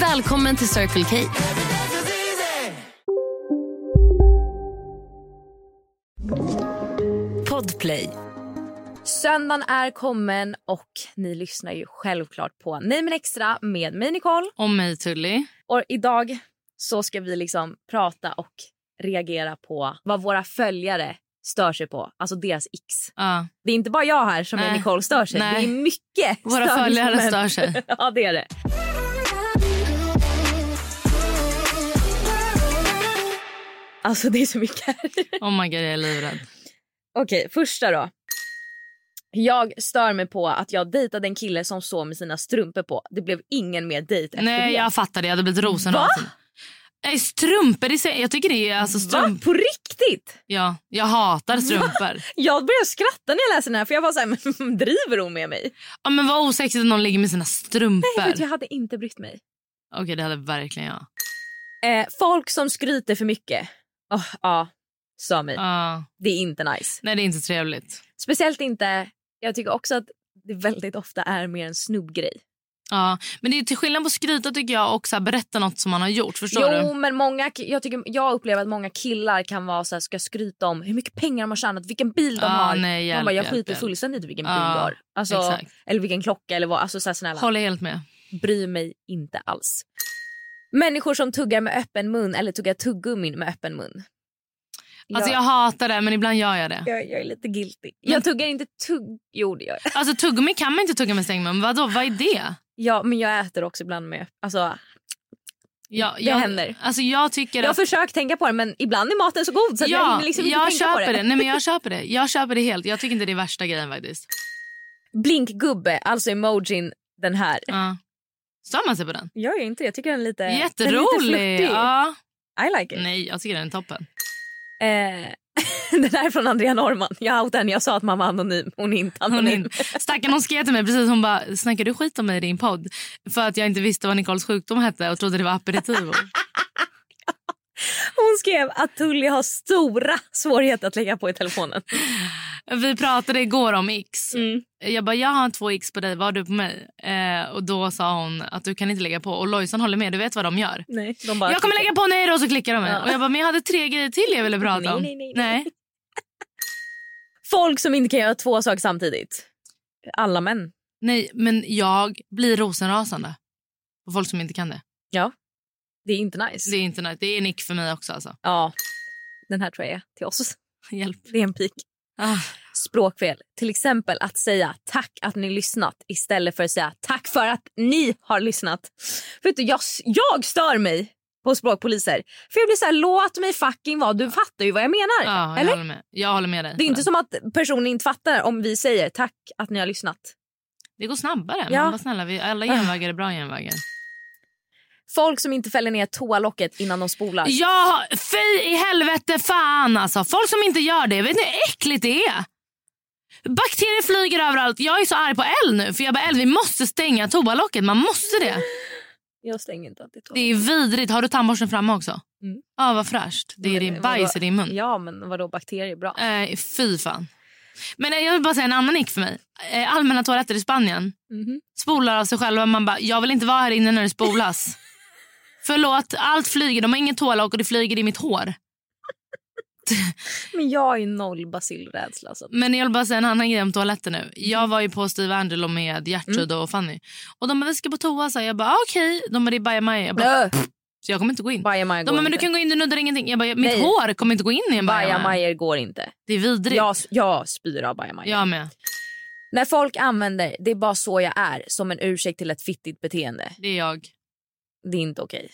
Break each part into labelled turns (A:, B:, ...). A: Välkommen till Circle K.
B: Podplay.
C: Söndagen är kommen och ni lyssnar ju självklart på Nej men extra med mig Nicole.
D: Och mig Tully.
C: Och idag så ska vi liksom prata och reagera på vad våra följare stör sig på, alltså deras x.
D: Ja.
C: Det är inte bara jag här som är
D: Nej.
C: Nicole stör sig,
D: Nej.
C: det är mycket
D: Våra följare
C: störningsmoment.
D: stör sig.
C: ja det är det. Alltså det är så mycket här.
D: Oh my god, jag är livrädd.
C: Okej, första då. Jag stör mig på att jag dejtade en kille som sov med sina strumpor på. Det blev ingen mer dejt efter
D: Nej,
C: det.
D: jag fattar det. Jag hade blivit rosenrasande. Nej, strumpor. Det säger, jag tycker det är alltså
C: Va?
D: strump.
C: På riktigt?
D: Ja, jag hatar strumpor.
C: Jag började skratta när jag läste den här för jag var så här, men driver hon med mig?
D: Ja, men vad osexigt att någon ligger med sina strumpor.
C: Nej, vet, jag hade inte brytt mig.
D: Okej, det hade verkligen jag.
C: Eh, folk som skryter för mycket. Åh, ja, sa mig.
D: Ja.
C: Det är inte nice.
D: nej, det är inte trevligt.
C: Speciellt inte, jag tycker också att det väldigt ofta är mer en snubbgrej.
D: Ja, men det är till skillnad på skryta tycker jag och så här, berätta något som man har gjort. Förstår
C: jo,
D: du?
C: men många, ki- jag, tycker, jag upplever att många killar kan vara så här, ska skryta om hur mycket pengar de har tjänat, vilken bil de
D: Ah,
C: har.
D: nej, hjälp,
C: Man bara, jag
D: hjälp,
C: skiter
D: hjälp.
C: fullständigt i vilken bil
D: Ah,
C: du har. Alltså,
D: Exakt.
C: eller vilken klocka eller vad. Alltså, så här, snälla,
D: Håller helt med.
C: bry mig inte alls. Människor som tuggar med öppen mun eller tuggar tuggummin med öppen mun.
D: Alltså, jag
C: jag,
D: hatar det, men ibland gör jag det.
C: jag, jag är lite guilty. Jag tuggar inte tugg... Jo, det gör jag.
D: Alltså, tuggummi kan man inte tugga med stängd mun. Vadå, vad är det?
C: Ja, men jag äter också ibland med... Alltså,
D: Jag,
C: Det
D: jag,
C: händer.
D: Alltså, jag tycker
C: jag har
D: att...
C: försökt tänka på det, men ibland är maten så god så att jag
D: Ja,
C: hinner liksom inte
D: jag
C: tänka på
D: köper det. Nej, men jag köper det. Jag köper det helt. Jag tycker inte det är värsta grejen faktiskt.
C: Blinkgubbe, alltså emojin den här.
D: Ja. Stör man sig på den?
C: Jag gör inte det. Jag tycker Eh, den är lite Den är
D: Jätterolig!
C: lite flörtig.
D: Ja.
C: I like it.
D: Nej, jag tycker den är toppen.
C: Eh, den här är från Andrea Norman. Jag outade henne. Jag sa att man var anonym. Hon är inte
D: Hon,
C: anonym.
D: är in- Stackarn hon skrev till mig precis, hon bara snackar du skit om mig i din podd? För att jag inte visste vad Nicoles sjukdom hette och trodde det var aperitivo.
C: Hon skrev att Tully har stora svårigheter att lägga på i telefonen.
D: Vi pratade igår om x. Jag bara, jag har två x på dig, vad har du på mig? Eh, och då sa hon att du kan inte lägga på och Lojsan håller med, du vet vad de gör.
C: Nej, de bara
D: Jag kommer lägga på nej då och så klickar de mig.
C: Ja.
D: Och jag bara, men jag hade tre grejer till jag ville prata
C: Nej,
D: om.
C: nej, nej, nej. Folk som inte kan göra två saker samtidigt. Alla män.
D: Nej, men jag blir rosenrasande. På folk som inte kan det.
C: Det är inte nice.
D: Det är inte nice. Det är en ick för mig också alltså.
C: Ja. Den här tror jag är till oss.
D: Hjälp.
C: Det är en pik.
D: Ah.
C: Språkfel. Till exempel att säga tack att ni lyssnat istället för att säga tack för att ni har lyssnat. Vet du, jag, jag stör mig på språkpoliser. För jag blir så här, låt mig fucking vara. Du fattar ju vad jag menar.
D: Ja, jag,
C: eller?
D: Håller med. jag håller med dig.
C: Det är
D: på
C: inte
D: den.
C: som att personen inte fattar om vi säger tack att ni har lyssnat.
D: det går snabbare.
C: Ja. Ah.
D: Men var snälla, vi, alla genvägar är bra genvägar.
C: Folk som inte fäller ner toalocket innan de spolar.
D: Ja, fy i helvete fan alltså. Folk som inte gör det, vet ni hur äckligt det är? Bakterier flyger överallt. Jag är så arg på L nu. För jag bara, L vi måste stänga toalocket. Man måste det.
C: Jag stänger inte alltid
D: Det är vidrigt. Har du tandborsten framme också?
C: Mm.
D: Ja, vad fräscht. Det är din bajs i din mun.
C: Ja, men vadå bakterier? Bra.
D: Eh, fy fan. Men eh, jag vill bara säga en annan ick för mig. Eh, allmänna toaletter i Spanien
C: Mhm.
D: spolar av sig själva. Man bara, jag vill inte vara här inne när det spolas. Förlåt, allt flyger. De har ingen toalock och det flyger i mitt hår.
C: Men jag har ju noll basilrädsla. Så. att-
D: Men jag vill bara säga en annan grej om toaletten nu. Jag var ju på Steve Angelo
C: Mm.
D: med Gertrud och Fanny. Och de bara, vi ska på toa. Så jag bara, ah, okej. De bara, det är bajamaja. Jag bara,
C: Blö!
D: Så jag kommer inte gå in.
C: Bajamaja
D: De
C: går
D: bara, men du
C: inte.
D: kan gå in, du nuddar ingenting. Jag bara, mitt
C: Nej.
D: hår kommer inte gå in i en bajamaja.
C: Bajamajor går inte.
D: Det är vidrigt.
C: Jag, jag spyr av bajamajor.
D: Jag med.
C: När folk använder “det är bara så jag är” som en ursäkt till ett fittigt beteende,
D: Det är jag.
C: det är inte okej.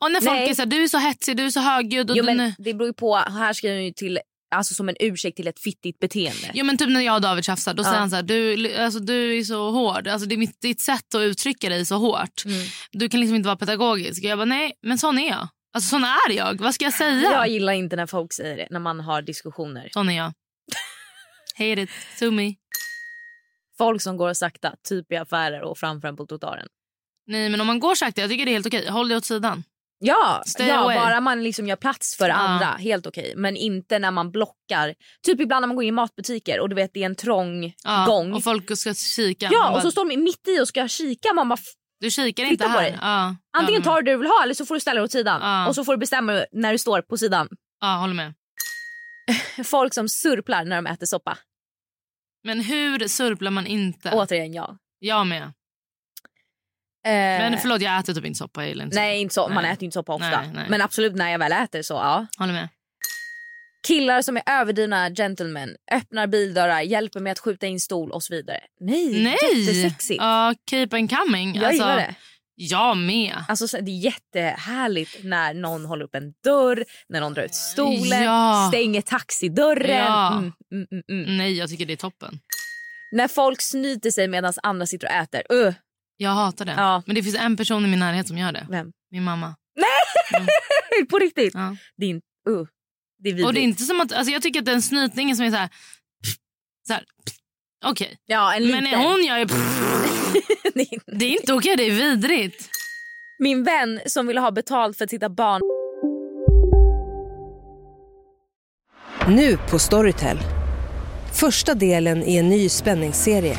D: Och när folk
C: Nej.
D: är så här, du är så hetsig, du är så högljudd. Och
C: Jo
D: du,
C: men det beror ju på, här skriver hon ju till, alltså som en ursäkt till ett fittigt beteende.
D: Jo, men typ när jag och David tjafsar, då
C: Ja.
D: säger han så här, du, alltså, du är så hård. Alltså, det är mitt, ditt sätt att uttrycka dig så hårt.
C: Mm.
D: Du kan liksom inte vara pedagogisk. Jag bara, nej, men sån är jag. Alltså sån är jag. Vad ska jag säga?
C: Jag gillar inte när folk säger det, när man har diskussioner.
D: Sån är jag. Hate it, sue me.
C: Folk som går sakta, typ i affärer och framför en på trottoaren.
D: Nej, men om man går sakta, jag tycker det är helt okej. Håll dig åt sidan.
C: Ja,
D: Stay
C: ja
D: away.
C: bara man liksom gör plats för andra, helt okej. Men inte när man blockar. Typ ibland när man går in i matbutiker och du vet det är en trång
D: Ja,
C: gång.
D: Och folk ska kika. Man
C: ja,
D: bara,
C: och så står de mitt i och ska kika. Man bara, f-
D: du kikar
C: Flytta
D: inte
C: på
D: här.
C: dig.
D: Ja,
C: antingen
D: ja,
C: tar du det du vill ha eller så får du ställa dig åt sidan.
D: Ja.
C: Och så får du bestämma när du står på sidan.
D: ja, håller med.
C: Folk som surplar när de äter soppa.
D: Men hur surplar man inte?
C: Återigen jag.
D: Jag med.
C: Eh,
D: Men förlåt, jag äter typ inte soppa. Jag gillar inte
C: nej, inte så. man
D: Nej.
C: äter ju inte soppa ofta.
D: Nej, nej.
C: Men absolut när jag väl äter så ja.
D: soppa. Håller med.
C: Killar som är överdrivna gentlemen, öppnar bildörrar, hjälper med att skjuta in stol och så vidare. Nej,
D: Nej!
C: jättesexigt.
D: Ja, keep and coming. Alltså,
C: Jag gillar det.
D: Jag med.
C: Alltså, så- det är jättehärligt när någon håller upp en dörr, när någon drar ut stolen,
D: Ja.
C: stänger taxidörren.
D: Ja.
C: Mm, mm, mm, mm.
D: Nej, jag tycker det är toppen.
C: När folk snyter sig medan andra sitter och äter. Uh,
D: Jag hatar det.
C: Ja.
D: Men det finns en person i min närhet som gör det.
C: vem?
D: Min mamma.
C: På riktigt.
D: Ja.
C: Det är, in- uh, det är vidrigt.
D: Och det är inte som att, alltså jag tycker att den snytningen som är så här... Så här okej.
C: Ja, en liten.
D: Men när hon gör ju...
C: Det är inte-
D: Det är inte okej, det är vidrigt.
C: Min vän som ville ha betalt för att sitta barn
B: Nu på Storytel. Första delen i en ny spänningsserie.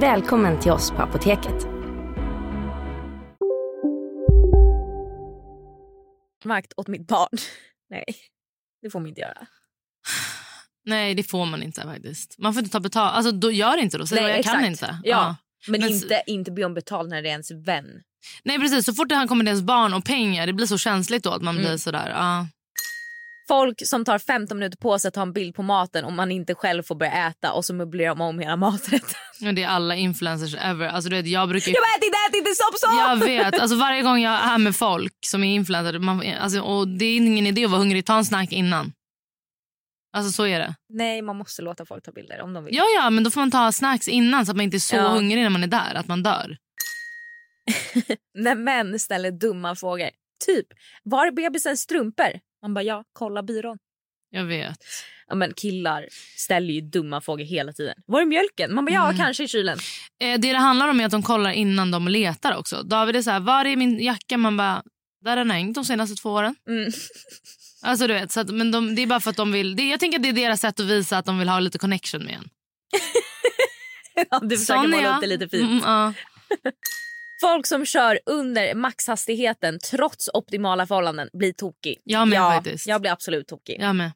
E: Välkommen till oss på Apoteket.
C: vakt åt mitt barn. Nej, det får man inte göra.
D: Nej, det får man inte faktiskt. Man får inte ta betalt. Alltså, då gör inte då. Säg
C: Nej,
D: vad jag kan
C: exakt.
D: inte.
C: Ja. Men,
D: Men s-
C: inte, inte be om betalt när det är ens vän.
D: Nej, precis. Så fort det här kommer till ens barn och pengar, det blir så känsligt då att man
C: Mm.
D: blir sådär. Ja.
C: Folk som tar 15 minuter på sig att ta en bild på maten om man inte själv får börja äta och så möblerar de om hela maträtten.
D: Men Det är alla influencers ever. Alltså, du vet, jag brukar ju...
C: Jag bara ät inte, ät inte, stopp, stopp!
D: Jag vet. Alltså varje gång jag är med folk som är influencers, man, alltså, och det är ingen idé att vara hungrig. Ta en snack innan. Alltså så är det.
C: Nej, man måste låta folk ta bilder om de vill.
D: Ja, ja, men då får man ta snacks innan så att man inte är så
C: Ja.
D: hungrig när man är där, att man dör.
C: När män ställer dumma frågor. Typ, var är bebisens strumpor? Man bara, ja, kolla byrån.
D: Jag vet.
C: Ja, men killar ställer ju dumma frågor hela tiden. Var är mjölken? Man bara, ja,
D: Mm.
C: kanske i kylen.
D: Eh, det det handlar om är att de kollar innan de letar också. David är så här, var är min jacka? Man bara, där har den hängt de senaste två åren.
C: Mm.
D: Alltså du vet, så att, men de, det är bara för att de vill, det, jag tänker att det är deras sätt att visa att de vill ha lite connection med en.
C: Ja, du försöker
D: Sån är
C: måla
D: jag.
C: upp det lite fint.
D: Mm, ja.
C: Folk som kör under maxhastigheten trots optimala förhållanden blir tokig.
D: Jag med
C: ja,
D: faktiskt.
C: jag blir absolut tokig.
D: Jag med.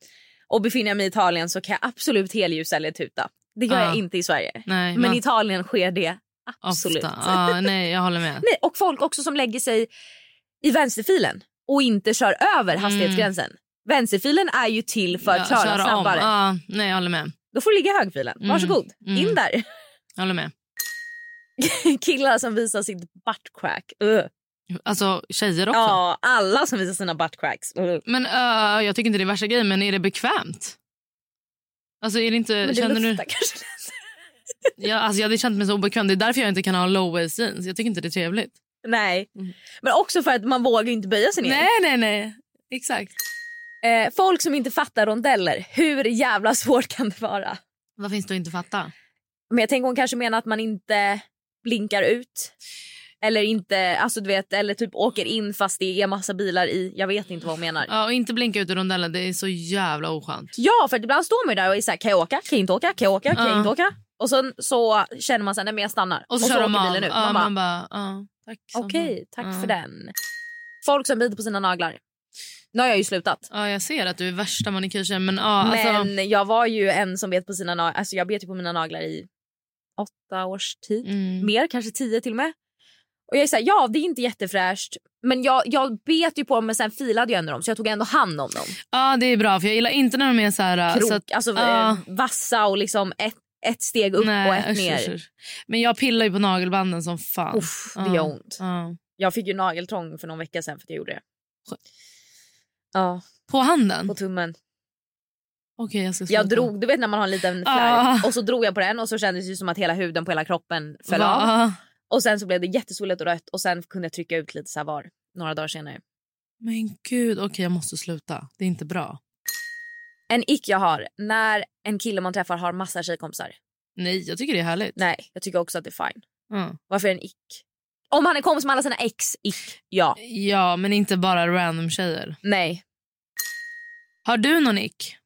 C: Och befinner jag mig i Italien så kan jag absolut helljus eller tuta. Det gör
D: Ja.
C: jag inte i Sverige.
D: Nej,
C: Men
D: man-
C: i Italien sker det absolut.
D: Ofta. Ja, nej, jag håller med.
C: Nej, och folk också som lägger sig i vänsterfilen och inte kör över hastighetsgränsen. Vänsterfilen är ju till för att köra
D: Mm. köra om.
C: snabbare.
D: Ja, nej, jag håller med.
C: Då får du ligga i högfilen.
D: Mm.
C: Varsågod,
D: Mm.
C: in där.
D: Jag håller med.
C: Killar som visar sitt butt crack. Ugh.
D: Alltså tjejer också.
C: Ja, alla som visar sina buttcracks. Men
D: Men eh, jag tycker inte det är värsta grejen, men är det bekvämt? Alltså är det inte...
C: det
D: känner
C: luktar
D: du...
C: kanske lite.
D: Ja, alltså jag hade känt mig så obekväm. Det är därför jag inte kan ha low waist jeans. Jag tycker inte det är trevligt.
C: Nej. Men också för att man vågar ju inte böja sig ner.
D: Mm. Nej, nej, nej. Exakt.
C: Eh, folk som inte fattar rondeller, hur jävla svårt kan det vara?
D: Vad finns det att inte fatta?
C: Men jag tänker hon kanske menar att man inte blinkar ut. Eller inte, alltså du vet, eller typ åker in fast det är massa bilar i. Jag vet inte vad hon menar.
D: Ja, och inte blinka ut ur rondellen. Det är så jävla oskönt.
C: Ja, för ibland står man ju där och är så här, kan jag åka? Kan jag inte åka? Kan jag åka? Kan jag
D: Ja.
C: inte åka? Och sen så känner man så här, nej men jag stannar.
D: Och så, kör de
C: åker
D: av.
C: bilen ut.
D: Ja,
C: man bara,
D: man bara, ja, tack. så
C: okej,
D: mycket.
C: tack
D: Ja.
C: för den. Folk som biter på sina naglar. Nu har jag ju slutat.
D: Ja, jag ser att du är värsta manikyrtjejen, men ja, alltså.
C: Men jag var ju en som bet på sina naglar. Alltså jag bet ju på mina naglar i åtta års tid.
D: Mm.
C: Mer, kanske tio till och med. Och jag är så här, ja det är inte jättefräscht. Men jag, jag bet ju på dem men sen filade jag ändå dem så jag tog ändå hand om dem.
D: Ja, det är bra för jag gillar inte när de är så här...
C: Krok,
D: Så att,
C: alltså
D: ja.
C: eh, vassa och liksom ett, ett steg upp och ett
D: usch,
C: ner.
D: usch, usch. Men jag pillar ju på nagelbanden som fan.
C: Uff, det
D: Ja,
C: gör ont.
D: ja.
C: Jag fick ju nageltrång för någon vecka sen för att jag gjorde det. Ja,
D: På handen?
C: på tummen.
D: Okej, jag ska
C: Jag
D: sluta.
C: drog, du vet när man har en liten
D: Ah.
C: flärp och så drog jag på den och så kändes det som att hela huden på hela kroppen föll
D: Va?
C: av.
D: Ja.
C: Och sen så blev det jättesvullhet och rött och sen kunde jag trycka ut lite så här var några dagar senare.
D: Men gud, okej jag måste sluta. Det är inte bra.
C: En ick jag har när en kille man träffar har massa tjejkompisar.
D: Nej, jag tycker det är härligt.
C: Nej, jag tycker också att det är fine.
D: Ja.
C: Varför är det en ick? Om han är kompis med alla sina ex, ick. Ja.
D: ja, men inte bara random tjejer.
C: Nej.
D: Har du någon ick?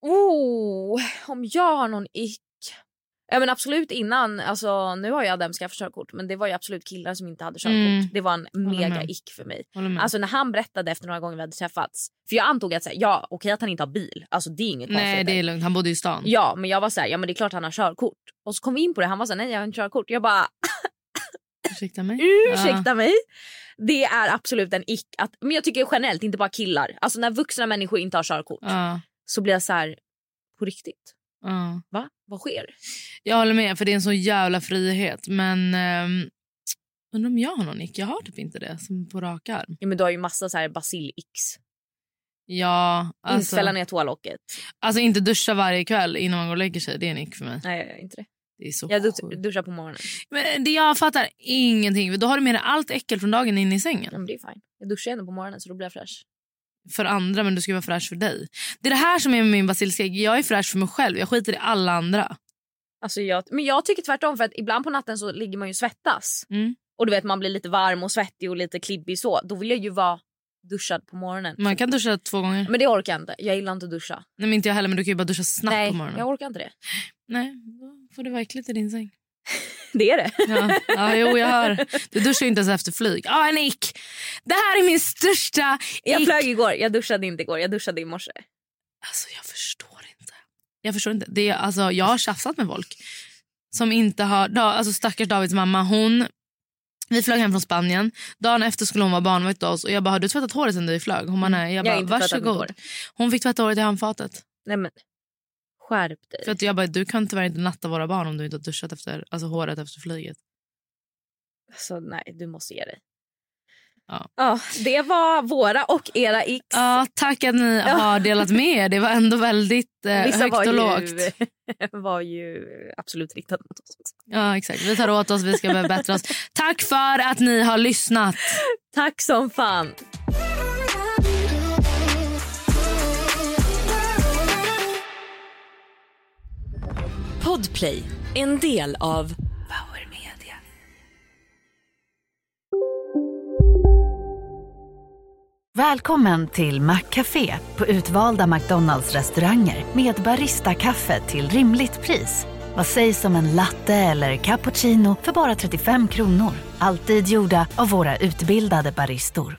C: Oh, om jag har någon ick? Ja men absolut innan, alltså nu har jag dem ska körkort men det var ju absolut killar som inte hade körkort.
D: Mm.
C: Det var en
D: Håller
C: mega
D: med. Mm.
C: ick för mig.
D: Håller med.
C: Alltså när han berättade efter några gånger vi hade träffats. För jag antog att så här, ja okej att han inte har bil, alltså det är inget
D: Nej,
C: konstigt.
D: det är lugnt. Han bodde ju i stan.
C: Ja, men jag var så här, ja men det är klart han har körkort. Och så kom vi in på det, han var så här, nej jag har inte körkort. Jag bara,
D: Ursäkta mig.
C: ursäkta mig. Det är absolut en ick. Att, men jag tycker generellt, inte bara killar. Alltså när vuxna människor inte har körkort
D: Ja,
C: så blir jag så här, på riktigt?
D: ja.
C: Va? Vad sker?
D: Jag håller med, för det är en så jävla frihet. Men ehm, undrar om jag har någon ick? Jag har typ inte det som på rak arm.
C: Ja, men du har ju massa så här basil-icks.
D: Ja,
C: Inte
D: alltså,
C: fälla ner toalocket.
D: alltså inte duscha varje kväll innan man går och lägger sig. Det är en ick för mig.
C: Nej, jag gör inte det.
D: Det är så
C: Jag
D: sjukt.
C: dus- duschar på morgonen.
D: Men det jag fattar ingenting. För Då har du med dig allt äckel från dagen in i sängen.
C: Ja, men det är fine. Jag duschar ändå på morgonen så då blir jag fräsch.
D: För andra, men du ska vara fräsch för dig. Det är det här som är min basilskräck. Jag är fräsch för mig själv. Jag skiter i alla andra.
C: Alltså jag, men jag tycker tvärtom för att ibland på natten så ligger man ju och svettas.
D: Mm.
C: Och du vet man blir lite varm och svettig och lite klibbig så. Då vill jag ju vara duschad på morgonen.
D: Man kan duscha två gånger.
C: Men det orkar jag inte. Jag gillar inte att duscha.
D: Nej, men inte jag heller, men du kan ju bara duscha snabbt
C: Nej,
D: på morgonen.
C: jag orkar inte det.
D: Nej, då får du vara äckligt i din säng.
C: Det är det.
D: Ja, ja jo, jag hör. Du duschar ju inte ens efter flyg. Ja, en ick! Det här är min största
C: Jag
D: ick.
C: flög igår. Jag duschade inte igår. Jag duschade i morse.
D: Alltså jag förstår inte. Jag förstår inte. Det är, alltså, jag har tjafsat med folk. Som inte har, da, alltså stackars Davids mamma, hon... Vi flög hem från Spanien. Dagen efter skulle hon vara barnvakt hos oss. Och jag bara, har du tvättat håret sen du flög? Hon bara, nej. Jag
C: Jag har
D: bara,
C: inte tvättat mitt
D: varsågod.
C: hår.
D: Hon fick tvätta håret i handfatet.
C: Nej men skärp dig.
D: För att jag bara, du kan tyvärr inte natta våra barn om du inte har duschat efter, alltså håret efter flyget.
C: Alltså nej, du måste ge dig.
D: Ja.
C: det var våra och era x.
D: Ja, tack att ni har delat med er. Det var ändå väldigt eh,
C: Vissa
D: högt
C: var
D: och
C: ju,
D: lågt.
C: var ju absolut riktade mot oss. också.
D: Ja, exakt. Vi tar åt oss, vi ska förbättra oss. Tack för att ni har lyssnat.
C: Tack som fan.
F: Podplay, en del av Power Media.
G: Välkommen till Maccafé på utvalda McDonalds restauranger med Baristakaffe till rimligt pris. Vad sägs om en latte eller cappuccino för bara 35 kronor? Alltid gjorda av våra utbildade baristor.